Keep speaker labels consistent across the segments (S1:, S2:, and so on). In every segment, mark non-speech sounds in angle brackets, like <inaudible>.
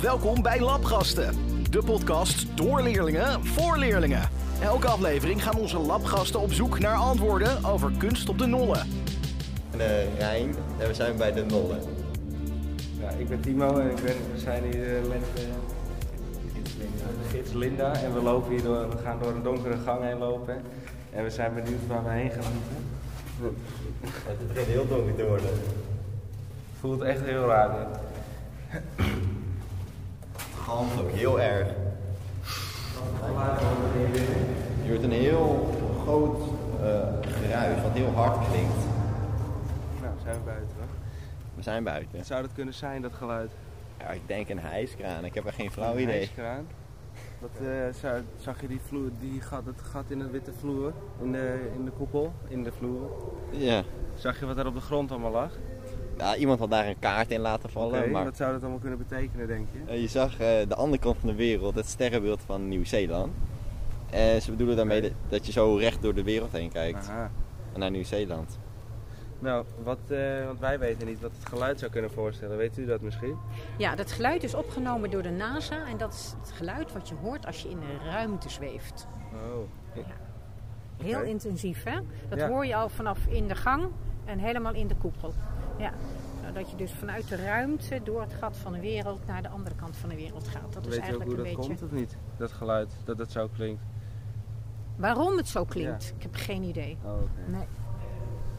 S1: Welkom bij Labgasten, de podcast door leerlingen voor leerlingen. Elke aflevering gaan onze labgasten op zoek naar antwoorden over kunst op de nollen.
S2: eh Rijn en we zijn bij de Nollen.
S3: Ja, ik ben Timo en ik ben, we zijn hier eh, met eh, gids Linda. En we, lopen hier door, we gaan door een donkere gang heen lopen. En we zijn benieuwd waar we heen gaan.
S2: Het begint heel donker te worden.
S3: Voelt echt heel raar. dit.
S2: Galmt ook heel erg. Je hoort een heel groot eh, geruis wat heel hard klinkt.
S3: Nou, zijn we buiten. hoor.
S2: We zijn buiten.
S3: Zou dat kunnen zijn, dat geluid?
S2: Ja, ik denk een hijskraan, ik heb er geen flauw
S3: Een
S2: idee.
S3: hijskraan. Wat, eh, zou- zag je die vloer, die gat, dat gat in de witte vloer? In de, in de koepel? In de vloer?
S2: Ja.
S3: Zag je wat daar op de grond allemaal lag?
S2: Ja, iemand had daar een kaart in laten vallen,
S3: Oké,
S2: eh, maar
S3: Wat zou dat allemaal kunnen betekenen, denk je?
S2: Eh, je zag eh, de andere kant van de wereld, het sterrenbeeld van Nieuw-Zeeland. En ze bedoelen daarmee
S3: Oké.
S2: dat- dat je zo recht door de wereld heen kijkt
S3: Aha.
S2: naar Nieuw-Zeeland.
S3: Nou, wat, eh, want wij weten niet wat het geluid zou kunnen voorstellen. Weet u dat misschien?
S4: Ja, dat geluid is opgenomen door de NASA en dat is het geluid wat je hoort als je in de ruimte zweeft.
S3: Oh.
S4: Heel
S3: Oké.
S4: intensief, hè? Dat
S3: Ja.
S4: hoor je al vanaf in de gang en helemaal in de koepel. Ja. Nou, dat je dus vanuit de ruimte door het gat van de wereld naar de andere kant van de wereld gaat. Dat is
S3: Weet je ook
S4: eigenlijk
S3: hoe dat
S4: een beetje
S3: komt of niet? Dat geluid, dat dat zo klinkt.
S4: waarom het zo klinkt. Ik heb geen idee.
S3: Oh, oké.
S4: Nee.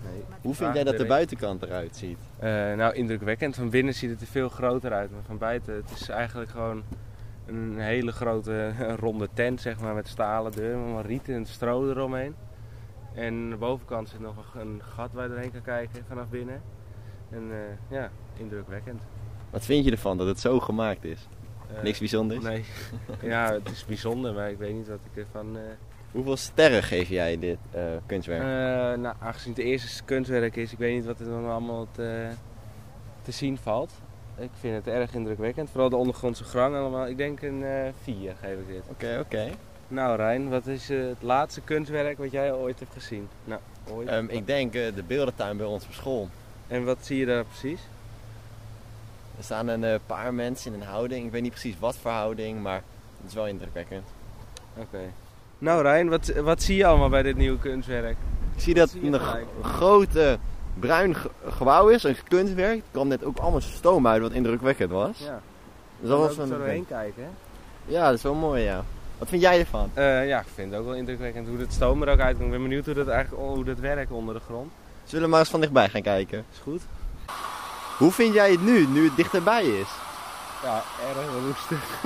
S3: Nee.
S2: Hoe vind
S3: Vraag
S2: jij dat de
S3: direct.
S2: buitenkant eruit ziet?
S3: Eh, nou, indrukwekkend. Van binnen ziet het er veel groter uit. Maar van buiten, het is eigenlijk gewoon een hele grote <laughs> ronde tent, zeg maar, met stalen deuren. Allemaal rieten en stro eromheen. En aan de bovenkant zit nog een g- een gat waar je doorheen kan kijken vanaf binnen. En eh, ja, indrukwekkend.
S2: Wat vind je ervan dat het zo gemaakt is?
S3: Eh,
S2: Niks bijzonders?
S3: Nee.
S2: <laughs>
S3: ja, het is bijzonder, maar ik weet niet wat ik ervan... eh,
S2: Hoeveel sterren geef jij dit eh, kunstwerk?
S3: Eh, nou, aangezien het de eerste kunstwerk is, ik weet niet wat er dan allemaal te, te zien valt. Ik vind het erg indrukwekkend. Vooral de ondergrondse gang allemaal. Ik denk een eh 4 geef ik dit.
S2: Oké, oké.
S3: Nou Rijn, wat is eh, het laatste kunstwerk wat jij ooit hebt gezien? Nou, ooit.
S2: Ehm, ik denk eh, de beeldentuin bij ons op school.
S3: En wat zie je daar precies?
S2: Er staan een eh, paar mensen in een houding. Ik weet niet precies wat voor houding, maar het is wel indrukwekkend.
S3: Oké. Nou Rijn, wat, wat zie je allemaal bij dit nieuwe kunstwerk?
S2: Ik zie dat
S3: Zie
S2: het
S3: je
S2: een
S3: gelijk.
S2: g- grote bruin ge- gebouw is, een kunstwerk. Er kwam net ook allemaal stoom uit, wat indrukwekkend was.
S3: Ja,
S2: Dus dat was
S3: zo
S2: een-
S3: doorheen kijken. Hè?
S2: Ja, dat is wel mooi, ja. Wat vind jij ervan?
S3: Eh, ja, ik vind het ook wel indrukwekkend hoe dat stoom er ook uitkomt. Ik ben benieuwd hoe dat, eigenlijk, oh, hoe dat werkt onder de grond.
S2: Zullen we maar eens van dichtbij gaan kijken?
S3: Is goed?
S2: Hoe vind jij het nu, nu het dichterbij is?
S3: Ja, erg roestig.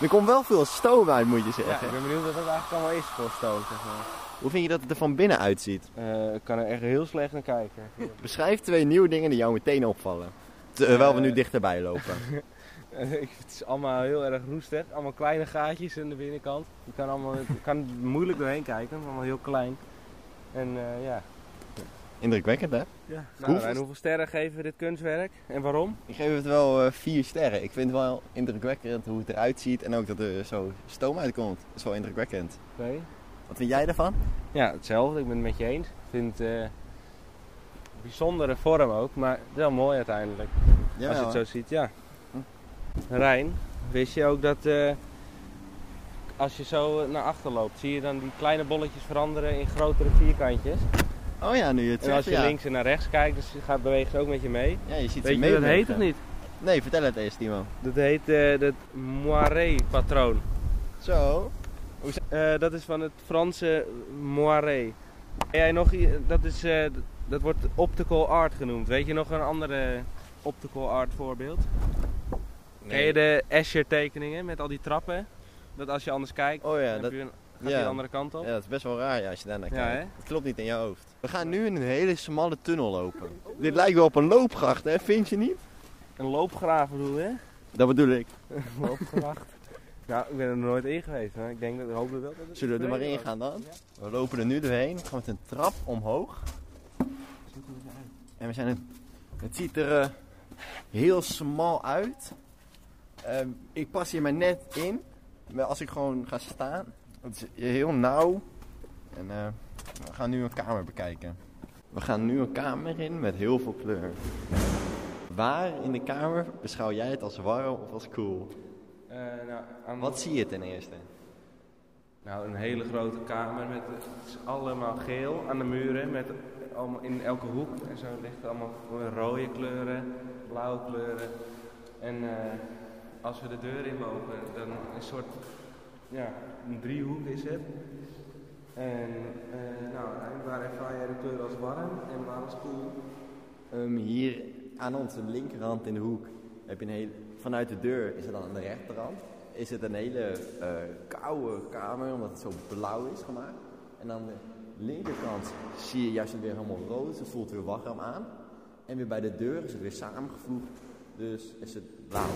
S2: Er komt wel veel stoom uit, moet je
S3: <laughs> Ja,
S2: zeggen.
S3: ik ben benieuwd wat dat eigenlijk allemaal is voor stoom, zeg maar.
S2: Hoe vind je dat het er van binnen uitziet?
S3: Eh, ik kan er echt heel slecht naar kijken.
S2: Beschrijf twee nieuwe dingen die jou meteen opvallen. Terwijl we nu
S3: Eh.
S2: dichterbij <laughs> lopen.
S3: <laughs> Eh, ik- het is allemaal heel erg roestig. Allemaal kleine gaatjes aan de binnenkant. Je kan, <laughs> allemaal, je kan er moeilijk doorheen kijken, maar allemaal heel klein. En eh, ja.
S2: Indrukwekkend, hè?
S3: ja.
S2: Hoeveel-
S3: en hoeveel sterren geven we dit kunstwerk? En waarom?
S2: Ik geef het wel eh, vier sterren. Ik vind het wel indrukwekkend hoe het eruit ziet en ook dat er zo stoom uitkomt. Dat is wel indrukwekkend.
S3: Twee.
S2: Wat vind jij daarvan?
S3: Ja, hetzelfde. Ik ben het met je eens. Ik vind het eh, bijzondere vorm ook, maar wel mooi uiteindelijk.
S2: Ja, Hm.
S3: Als je het zo ziet, ja. Rijn, wist je ook dat eh, als je zo naar achter loopt, zie je dan die kleine bolletjes veranderen in grotere vierkantjes?
S2: Oh ja, nu je het
S3: En
S2: zegt,
S3: als je
S2: ja.
S3: links en naar rechts kijkt, dus gaat bewegen ze ook met je mee.
S2: Ja, je ziet
S3: Weet
S2: ze
S3: je
S2: mee.
S3: hoe dat heet of niet?
S2: Nee, vertel het eens, Timo.
S3: Dat heet het dat Moiré-patroon.
S2: Zo.
S3: Eh, dat is van het Franse Moiré. Ken jij nog, i- dat, is, eh, d- dat wordt optical art genoemd. Weet je nog een andere optical art voorbeeld? Ken je de Escher tekeningen met al die trappen? Dat als je anders kijkt,
S2: Oh ja, dat,
S3: dan heb je een, gaat
S2: ja.
S3: die de andere kant op.
S2: ja, dat is best wel raar ja, als je daarnaar
S3: Ja,
S2: kijkt.
S3: hè?
S2: Het klopt niet in je hoofd. We gaan nu in een hele smalle tunnel lopen. Dit lijkt wel op een loopgracht, hè? Vind je niet?
S3: Een loopgraaf bedoel je?
S2: Dat bedoel ik.
S3: <laughs> Loopgracht. nou, ik ben er nooit in geweest, maar ik denk dat ik hoop dat wel. Dat het
S2: Zullen we er maar in
S3: beneden
S2: gaan dan?
S3: was. Ja.
S2: We lopen er nu doorheen. We gaan met een trap omhoog. En we zijn een, het ziet er eh, heel smal uit. Ehm, ik pas hier maar net in. Maar als ik gewoon ga staan. Het is heel nauw. En eh, we gaan nu een kamer bekijken. We gaan nu een kamer in met heel veel kleur. Waar in de kamer beschouw jij het als warm of als koel?
S3: Eh, nou, aan-
S2: Wat zie je ten eerste?
S3: Nou, een hele grote kamer met het is allemaal geel aan de muren, met allemaal in elke hoek en zo ligt allemaal rode kleuren, blauwe kleuren. En eh, als we de deur inlopen, dan een soort, ja, een driehoek is het. En eh, nou, waar ervaar jij de kleur als warm en waar als koel?
S2: Ehm, hier aan onze linkerhand in de hoek heb je een hele. Vanuit de deur is het dan aan de rechterhand. Is het een hele eh, koude kamer, omdat het zo blauw is gemaakt. En aan de linkerkant zie je juist weer helemaal rood. Het voelt weer warm aan. En weer bij de deur is het weer samengevoegd. Dus is het blauw.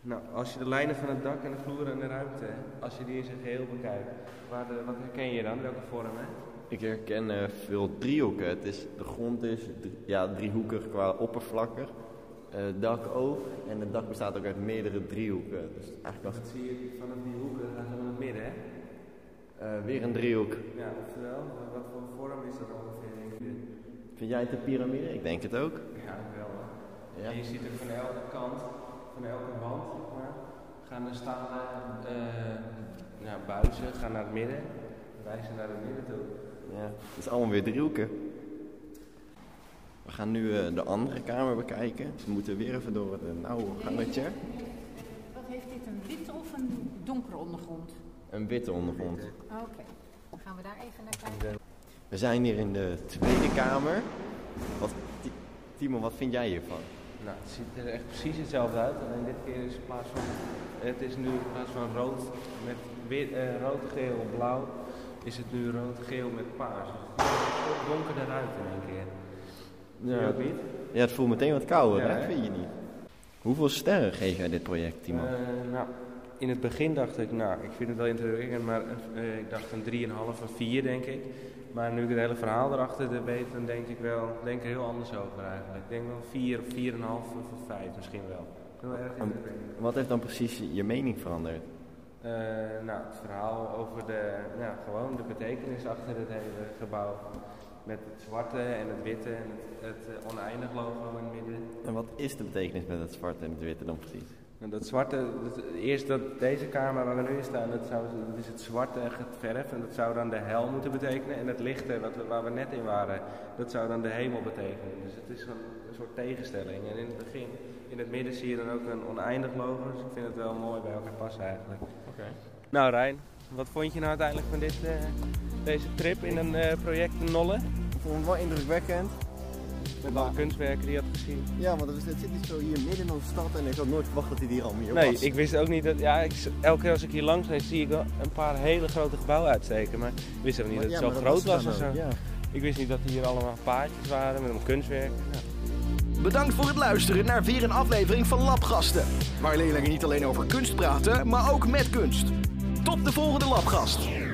S3: Nou, als je de lijnen van het dak en de vloer en de ruimte, als je die in zijn geheel bekijkt, waar de- wat herken je dan? Welke vorm, hè?
S2: Ik herken eh, veel driehoeken. Het is, de grond is drie- ja, driehoekig qua oppervlakker. Eh, Het dak ook. En het dak bestaat ook uit meerdere driehoeken. Dus eigenlijk was het
S3: Dat zie je vanaf die hoeken, dan gaan we naar het midden, hè?
S2: eh, weer een driehoek.
S3: Ja, oftewel, eh, wat voor vorm is dat ongeveer, denk je?
S2: Vind jij het een piramide? Ik denk het ook.
S3: Ja, wel. hè.
S2: Ja.
S3: En je ziet er van elke kant, van elke wand, zeg maar, gaan er stalen eh nou, buizen, gaan naar het midden, wijzen naar het midden toe.
S2: Ja. Het is allemaal weer driehoeken. We gaan nu eh, de andere kamer bekijken. Dus we moeten weer even door het eh, nauwe gangetje.
S4: Wat heeft dit, een wit of een donkere ondergrond?
S2: Een witte ondergrond.
S4: Oké, dan gaan we daar even naar kijken.
S2: We zijn hier in de tweede kamer. Wat, Ti- Timo, wat vind jij hiervan?
S3: Nou, het ziet er echt precies hetzelfde uit, alleen dit keer is in plaats van, het is nu in plaats van rood met wit, eh, rood, geel, blauw, is het nu rood, geel met paars. Dus Het is veel donkerder uit in één keer. Zie je ook niet?
S2: Ja, het voelt meteen wat kouder,
S3: Ja,
S2: hè?
S3: hè?
S2: Vind je niet? Hoeveel sterren geef jij dit project, Timo?
S3: Eh, nou, in het begin dacht ik, nou, ik vind het wel indrukwekkend, maar eh, ik dacht een 3,5 of 4, denk ik. Maar nu ik het hele verhaal erachter weet, dan denk ik wel, denk er heel anders over eigenlijk. Ik denk wel 4 of 4,5 of een 5 misschien wel. Heel erg indrukwekkend.
S2: Wat heeft dan precies je mening veranderd?
S3: Eh, nou, het verhaal over de, nou, gewoon de betekenis achter het hele gebouw. Met het zwarte en het witte en het, het eh, oneindig logo in het midden.
S2: En wat is de betekenis met het zwart en het witte dan precies?
S3: Nou, dat zwarte, dat, eerst dat deze kamer waar we nu in staan, dat, zou, dat is het zwarte en het verf. En dat zou dan de hel moeten betekenen. En het lichte wat we, waar we net in waren, dat zou dan de hemel betekenen. Dus het is een, een soort tegenstelling. En in het begin, in het midden zie je dan ook een oneindig logo. Dus ik vind het wel mooi bij elkaar passen eigenlijk. Nou Rijn, wat vond je nou uiteindelijk van dit, eh, deze trip in een eh, project in Nolle?
S2: Ik vond het wel indrukwekkend.
S3: Met alle kunstwerken die je had gezien.
S2: Ja, want het, zit hier zo hier midden in onze stad en ik had nooit verwacht dat hij hier al meer
S3: Nee,
S2: was.
S3: ik wist ook niet dat. Ja, ik, elke keer als ik hier langs rijd, zie ik wel een paar hele grote gebouwen uitsteken. Maar ik wist ook niet
S2: Maar-
S3: dat
S2: ja,
S3: het zo
S2: maar
S3: groot
S2: het
S3: was en
S2: dan
S3: zo.
S2: ook, ja.
S3: Ik wist niet dat hier allemaal paardjes waren met een kunstwerk. Ja.
S1: Bedankt voor het luisteren naar weer een aflevering van Labgasten. Waar leerlingen niet alleen over kunst praten, maar ook met kunst. Tot de volgende Labgast.